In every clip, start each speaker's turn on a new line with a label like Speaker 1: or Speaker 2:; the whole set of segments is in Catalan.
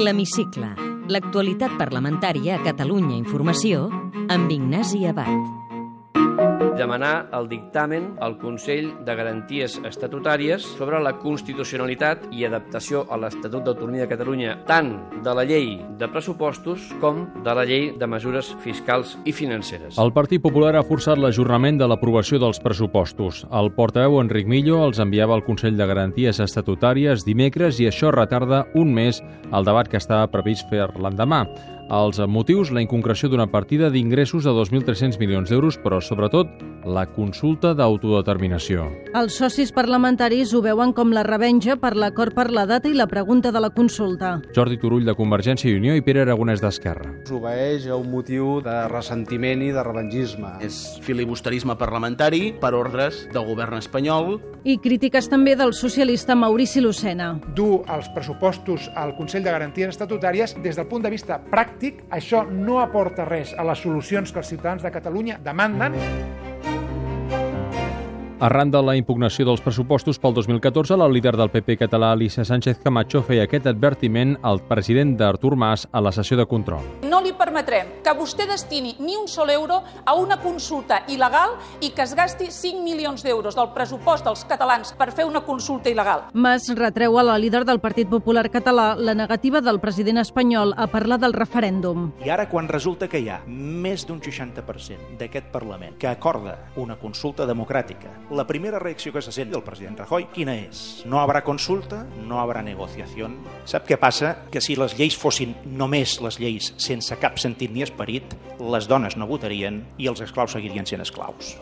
Speaker 1: L'Hemicicle. L'actualitat parlamentària a Catalunya Informació amb Ignasi Abad.
Speaker 2: demanar el dictamen al Consell de Garanties Estatutàries sobre la constitucionalitat i adaptació a l'Estatut d'Autonomia de Catalunya tant de la llei de pressupostos com de la llei de mesures fiscals i financeres.
Speaker 3: El Partit Popular ha forçat l'ajornament de l'aprovació dels pressupostos. El portaveu Enric Millo els enviava al Consell de Garanties Estatutàries dimecres i això retarda un mes el debat que estava previst fer l'endemà. Els motius, la inconcreció d'una partida d'ingressos de 2.300 milions d'euros, però sobretot la consulta d'autodeterminació.
Speaker 4: Els socis parlamentaris ho veuen com la revenja per l'acord per la data i la pregunta de la consulta.
Speaker 3: Jordi Turull de Convergència i Unió i Pere Aragonès d'Esquerra.
Speaker 5: s'obeeix a un motiu de ressentiment i de revengisme.
Speaker 6: És filibusterisme parlamentari per ordres del govern espanyol.
Speaker 4: I crítiques també del socialista Maurici Lucena.
Speaker 7: dur els pressupostos al Consell de Garanties Estatutàries, des del punt de vista pràctic, això no aporta res a les solucions que els ciutadans de Catalunya demanden.
Speaker 3: Arran de la impugnació dels pressupostos pel 2014, la líder del PP català, Alicia Sánchez Camacho, feia aquest advertiment al president d'Artur Mas a la sessió de control.
Speaker 8: No li permetrem que vostè destini ni un sol euro a una consulta il·legal i que es gasti 5 milions d'euros del pressupost dels catalans per fer una consulta il·legal.
Speaker 4: Mas retreu a la líder del Partit Popular català la negativa del president espanyol a parlar del referèndum.
Speaker 9: I ara, quan resulta que hi ha més d'un 60% d'aquest Parlament que acorda una consulta democràtica, la primera reacció que se sent del president Rajoy, quina és? No habrá consulta, no habrá negociació. Sap què passa? Que si les lleis fossin només les lleis sense cap sentit ni esperit, les dones no votarien i els esclaus seguirien sent esclaus.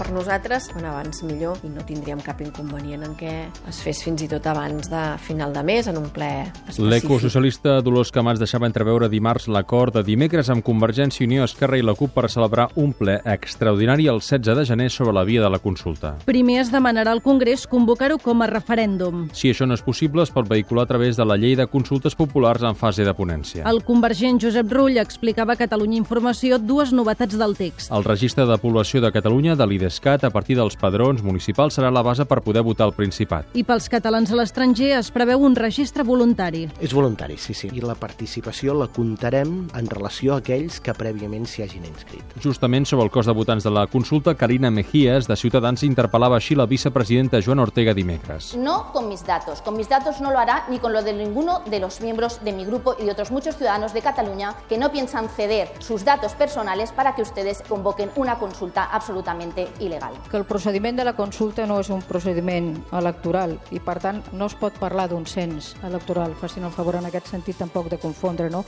Speaker 10: Per nosaltres, quan abans millor, i no tindríem cap inconvenient en què es fes fins i tot abans de final de mes, en un ple específic.
Speaker 3: L'ecosocialista Dolors Camats deixava entreveure dimarts l'acord de dimecres amb Convergència i Unió, Esquerra i la CUP per celebrar un ple extraordinari el 16 de gener sobre la via de la consulta.
Speaker 4: Primer es demanarà al Congrés convocar-ho com a referèndum.
Speaker 3: Si això no és possible, es pot vehicular a través de la llei de consultes populars en fase de ponència.
Speaker 4: El convergent Josep Rull explicava a Catalunya Informació dues novetats del text.
Speaker 3: El registre de població de Catalunya de l'IDESCAT a partir dels padrons municipals serà la base per poder votar al Principat.
Speaker 4: I pels catalans a l'estranger es preveu un registre voluntari.
Speaker 11: És voluntari, sí, sí. I la participació la comptarem en relació a aquells que prèviament s'hi hagin inscrit.
Speaker 3: Justament sobre el cos de votants de la consulta, Carina Mejías, de Ciutadans, interpel·lava així la vicepresidenta Joan Ortega dimecres.
Speaker 8: No con mis datos. Con mis datos no lo hará ni con lo de ninguno de los miembros de mi grupo y de otros muchos ciudadanos de Cataluña que no piensan ceder sus datos personales para que ustedes convoquen una consulta absolutamente ilegal.
Speaker 10: Que el procediment de la consulta no és un procediment electoral i, per tant, no es pot parlar d'un cens electoral. Facin el favor en aquest sentit tampoc de confondre, no?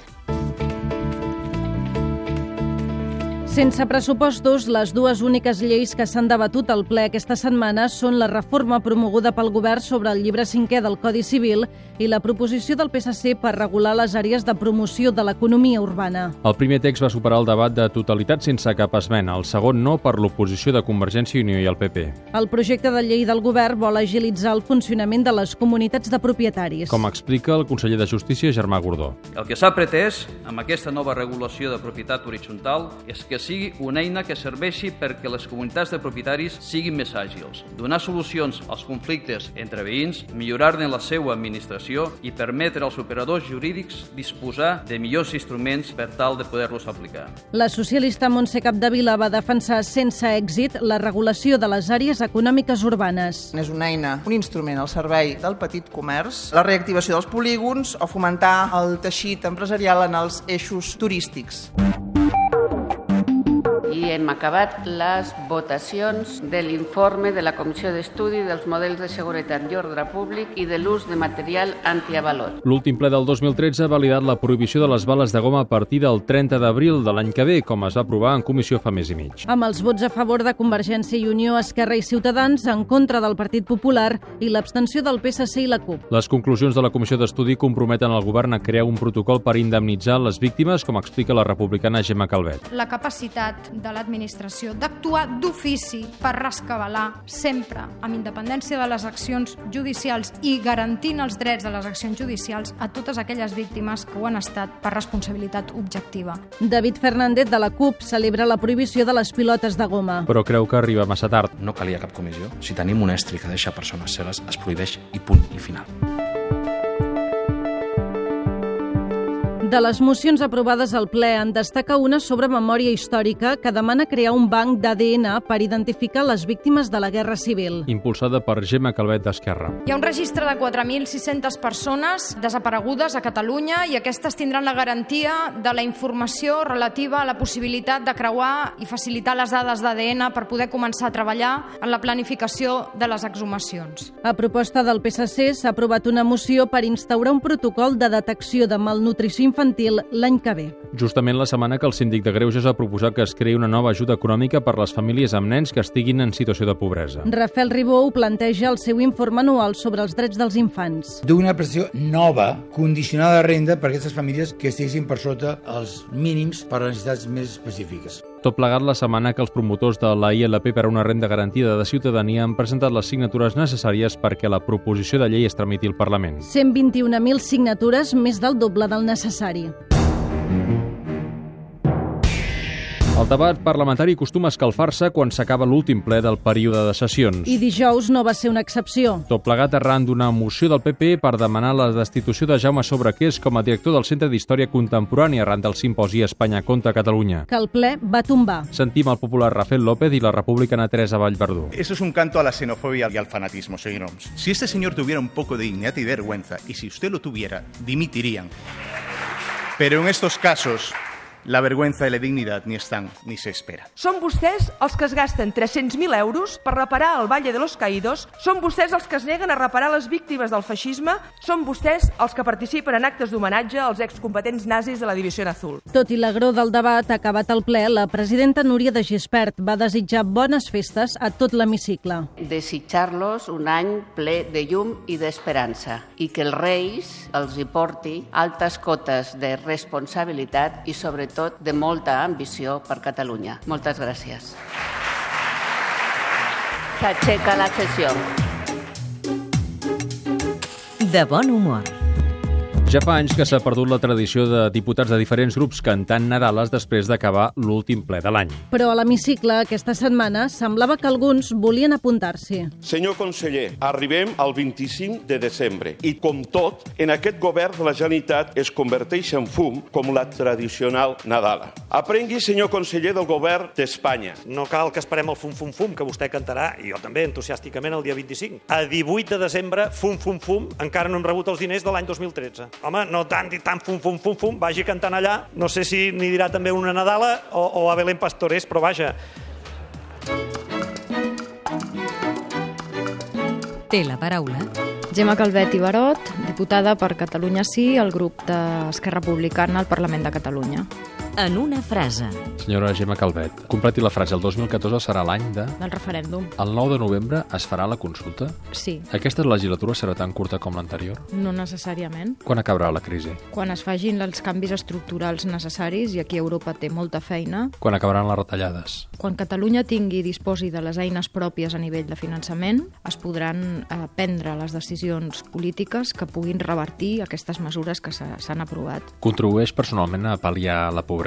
Speaker 4: Sense pressupostos, les dues úniques lleis que s'han debatut al ple aquesta setmana són la reforma promoguda pel govern sobre el llibre cinquè del Codi Civil i la proposició del PSC per regular les àrees de promoció de l'economia urbana.
Speaker 3: El primer text va superar el debat de totalitat sense cap esmena, el segon no per l'oposició de Convergència i Unió i el PP.
Speaker 4: El projecte de llei del govern vol agilitzar el funcionament de les comunitats de propietaris.
Speaker 3: Com explica el conseller de Justícia, Germà Gordó.
Speaker 2: El que s'ha pretès amb aquesta nova regulació de propietat horitzontal és que sigui una eina que serveixi perquè les comunitats de propietaris siguin més àgils, donar solucions als conflictes entre veïns, millorar-ne la seva administració i permetre als operadors jurídics disposar de millors instruments per tal de poder-los aplicar.
Speaker 4: La socialista Montse Capdevila va defensar sense èxit la regulació de les àrees econòmiques urbanes.
Speaker 8: És una eina, un instrument al servei del petit comerç, la reactivació dels polígons o fomentar el teixit empresarial en els eixos turístics.
Speaker 10: I hem acabat les votacions de l'informe de la Comissió d'Estudi dels Models de Seguretat i Ordre Públic i de l'ús de material antiavalot.
Speaker 3: L'últim ple del 2013 ha validat la prohibició de les bales de goma a partir del 30 d'abril de l'any que ve, com es va aprovar en comissió fa més i mig.
Speaker 4: Amb els vots a favor de Convergència i Unió, Esquerra i Ciutadans, en contra del Partit Popular i l'abstenció del PSC i la CUP.
Speaker 3: Les conclusions de la comissió d'estudi comprometen el govern a crear un protocol per indemnitzar les víctimes, com explica la republicana Gemma Calvet.
Speaker 8: La capacitat de l'administració d'actuar d'ofici per rescabalar sempre, amb independència de les accions judicials i garantint els drets de les accions judicials a totes aquelles víctimes que ho han estat per responsabilitat objectiva.
Speaker 4: David Fernández de la CUP celebra la prohibició de les pilotes de goma.
Speaker 3: Però creu que arriba massa tard.
Speaker 6: No calia cap comissió. Si tenim un estri que deixa persones cegues, es prohibeix i punt i final.
Speaker 12: De les mocions aprovades al ple en destaca una sobre memòria històrica que demana crear un banc d'ADN per identificar les víctimes de la Guerra Civil.
Speaker 3: impulsada per Gemma Calvet d'Esquerra.
Speaker 8: Hi ha un registre de 4.600 persones desaparegudes a Catalunya i aquestes tindran la garantia de la informació relativa a la possibilitat de creuar i facilitar les dades d'ADN per poder començar a treballar en la planificació de les exhumacions.
Speaker 12: A proposta del PSC s'ha aprovat una moció per instaurar un protocol de detecció de malnutrició infantil l'any que ve.
Speaker 3: Justament la setmana que el síndic de Greuges ha proposat que es creï una nova ajuda econòmica per les famílies amb nens que estiguin en situació de pobresa.
Speaker 12: Rafael Ribó ho planteja al seu informe anual sobre els drets dels infants.
Speaker 13: d'una prestació nova, condicionada a renda per a aquestes famílies que estiguessin per sota els mínims per a necessitats més específiques.
Speaker 3: Tot plegat la setmana que els promotors de la ILP per a una renda garantida de ciutadania han presentat les signatures necessàries perquè la proposició de llei es tramiti al Parlament.
Speaker 12: 121.000 signatures, més del doble del necessari.
Speaker 3: El debat parlamentari acostuma a escalfar-se quan s'acaba l'últim ple del període de sessions.
Speaker 12: I dijous no va ser una excepció.
Speaker 3: Tot plegat arran d'una moció del PP per demanar la destitució de Jaume Sobrequés com a director del Centre d'Història Contemporània arran del simposi Espanya contra Catalunya.
Speaker 12: que el ple va tombar.
Speaker 3: Sentim el popular Rafael López i la republicana Teresa Vallverdú.
Speaker 9: Eso es un canto a la xenofobia y al fanatismo, señor Homs. Si este señor tuviera un poco de dignidad y vergüenza, y si usted lo tuviera, dimitirían. Pero en estos casos, la vergüenza y la dignidad ni están ni se esperan.
Speaker 14: Són vostès els que es gasten 300.000 euros per reparar el Valle de los Caídos, són vostès els que es neguen a reparar les víctimes del feixisme, són vostès els que participen en actes d'homenatge als excombatents nazis de la Divisió Azul.
Speaker 12: Tot i l'agró del debat, acabat el ple, la presidenta Núria de Gispert va desitjar bones festes a tot l'hemicicle.
Speaker 10: Desitjar-los un any ple de llum i d'esperança i que els reis els hi porti altes cotes de responsabilitat i, sobretot, de molta ambició per Catalunya. Moltes gràcies. S'aixeca la sessió.
Speaker 1: De bon humor.
Speaker 3: Ja fa anys que s'ha perdut la tradició de diputats de diferents grups cantant Nadales després d'acabar l'últim ple de l'any.
Speaker 12: Però a l'hemicicle aquesta setmana semblava que alguns volien apuntar-s'hi.
Speaker 2: Senyor conseller, arribem al 25 de desembre i, com tot, en aquest govern de la Generalitat es converteix en fum com la tradicional Nadala. Aprengui, senyor conseller, del govern d'Espanya.
Speaker 15: No cal que esperem el fum, fum, fum, que vostè cantarà, i jo també, entusiàsticament, el dia 25. A 18 de desembre, fum, fum, fum, encara no hem rebut els diners de l'any 2013. Home, no tant i tant fum, fum, fum, fum, vagi cantant allà. No sé si n'hi dirà també una Nadala o, o a Belén Pastorés, però vaja,
Speaker 1: Té la paraula
Speaker 4: Gemma Calvet i Barot, diputada per Catalunya Sí, al grup d'Esquerra Republicana al Parlament de Catalunya.
Speaker 1: en una frase.
Speaker 3: Senyora Gemma Calvet, completi la frase. El 2014 serà l'any de...
Speaker 4: Del referèndum,
Speaker 3: El 9 de novembre es farà la consulta?
Speaker 4: sí,
Speaker 3: Aquesta legislatura serà tan curta com l'anterior?
Speaker 4: no necessàriament.
Speaker 3: Quan acabarà la crisi?
Speaker 4: Quan es fagin els canvis estructurals necessaris, i aquí Europa té molta feina,
Speaker 3: Quan acabaran les retallades?
Speaker 4: quan Catalunya tingui i disposi de les eines pròpies a nivell de finançament, es podran eh, prendre les decisions polítiques que puguin revertir aquestes mesures que s'ha- s'han aprovat.
Speaker 3: Contribueix personalment a pal·liar la pobresa?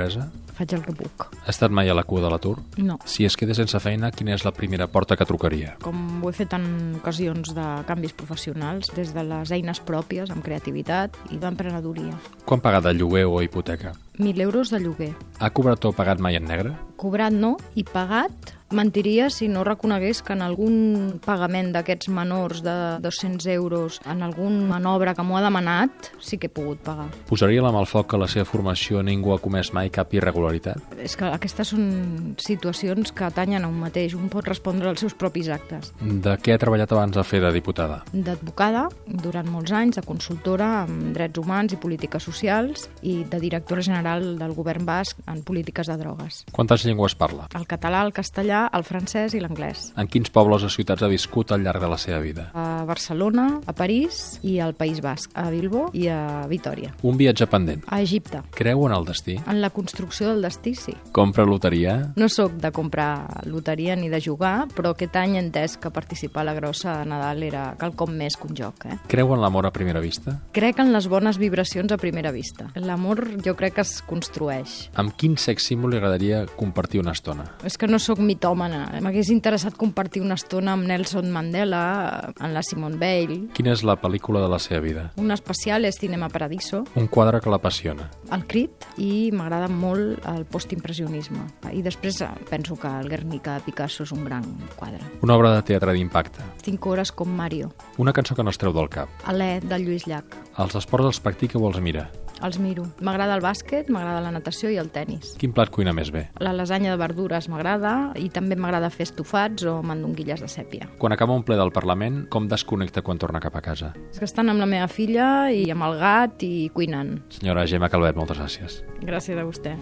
Speaker 4: Faig el que puc.
Speaker 3: Ha estat mai a la cua de l'atur?
Speaker 4: No.
Speaker 3: Si es queda sense feina, quina és la primera porta que trucaria?
Speaker 4: com ho he fet en ocasions de canvis professionals, des de les eines pròpies, amb creativitat i d'emprenedoria.
Speaker 3: Quan pagar de lloguer o hipoteca?
Speaker 4: 1.000 euros de lloguer.
Speaker 3: Ha cobrat o pagat mai en negre?
Speaker 4: Cobrat no i pagat mentiria si no reconegués que en algun pagament d'aquests menors de 200 euros, en algun manobra que m'ho ha demanat, sí que he pogut pagar.
Speaker 3: Posaria la mà al foc que a la seva formació ningú ha comès mai cap irregularitat?
Speaker 4: És que aquestes són situacions que atanyen a un mateix. Un pot respondre als seus propis actes.
Speaker 3: De què ha treballat abans de fer de diputada?
Speaker 4: d'advocada durant molts anys, de consultora en drets humans i polítiques socials i de directora general del govern basc en polítiques de drogues.
Speaker 3: Quantes llengües parla?
Speaker 4: El català, el castellà, el francès i l'anglès.
Speaker 3: En quins pobles o ciutats ha viscut al llarg de la seva vida?
Speaker 4: A Barcelona, a París i al País Basc, a Bilbo i a Vitoria.
Speaker 3: Un viatge pendent.
Speaker 4: A Egipte,
Speaker 3: Creu en el destí?
Speaker 4: en la construcció del destí, sí.
Speaker 3: Compra loteria?
Speaker 4: No sóc de comprar loteria ni de jugar, però aquest any he entès que participar a la grossa de Nadal era quelcom més que un joc, eh?
Speaker 3: Creu en l'amor a primera vista?
Speaker 4: Crec en les bones vibracions a primera vista. L'amor jo crec que es construeix. Eh?
Speaker 3: Amb quin sex símbol li agradaria compartir una estona?
Speaker 4: És que no sóc mit politòmana. M'hagués interessat compartir una estona amb Nelson Mandela, amb la Simone Weil.
Speaker 3: Quina és la pel·lícula de la seva vida?
Speaker 4: Un especial és Cinema Paradiso,
Speaker 3: Un quadre que l'apassiona.
Speaker 4: el crit, i m'agrada molt el postimpressionisme. I després eh, penso que el Guernica de Picasso és un gran quadre.
Speaker 3: Una obra de teatre d'impacte.
Speaker 4: Cinc hores com Mario,
Speaker 3: Una cançó que no es treu del cap.
Speaker 4: Alè, de Lluís Llach.
Speaker 3: Els esports els practica o els mira.
Speaker 4: Els miro. M'agrada el bàsquet, m'agrada la natació i el tennis.
Speaker 3: Quin plat cuina més bé?
Speaker 4: La lasanya de verdures m'agrada i també m'agrada fer estofats o mandonguilles de sèpia.
Speaker 3: Quan acaba un ple del Parlament, com desconnecta quan torna cap a casa?
Speaker 4: És que estan amb la meva filla i amb el gat i cuinant.
Speaker 3: Senyora Gemma Calvet, moltes gràcies.
Speaker 4: Gràcies a vostè.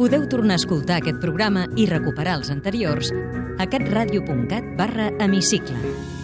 Speaker 1: Podeu tornar a escoltar aquest programa i recuperar els anteriors a catradio.cat barra hemicicle.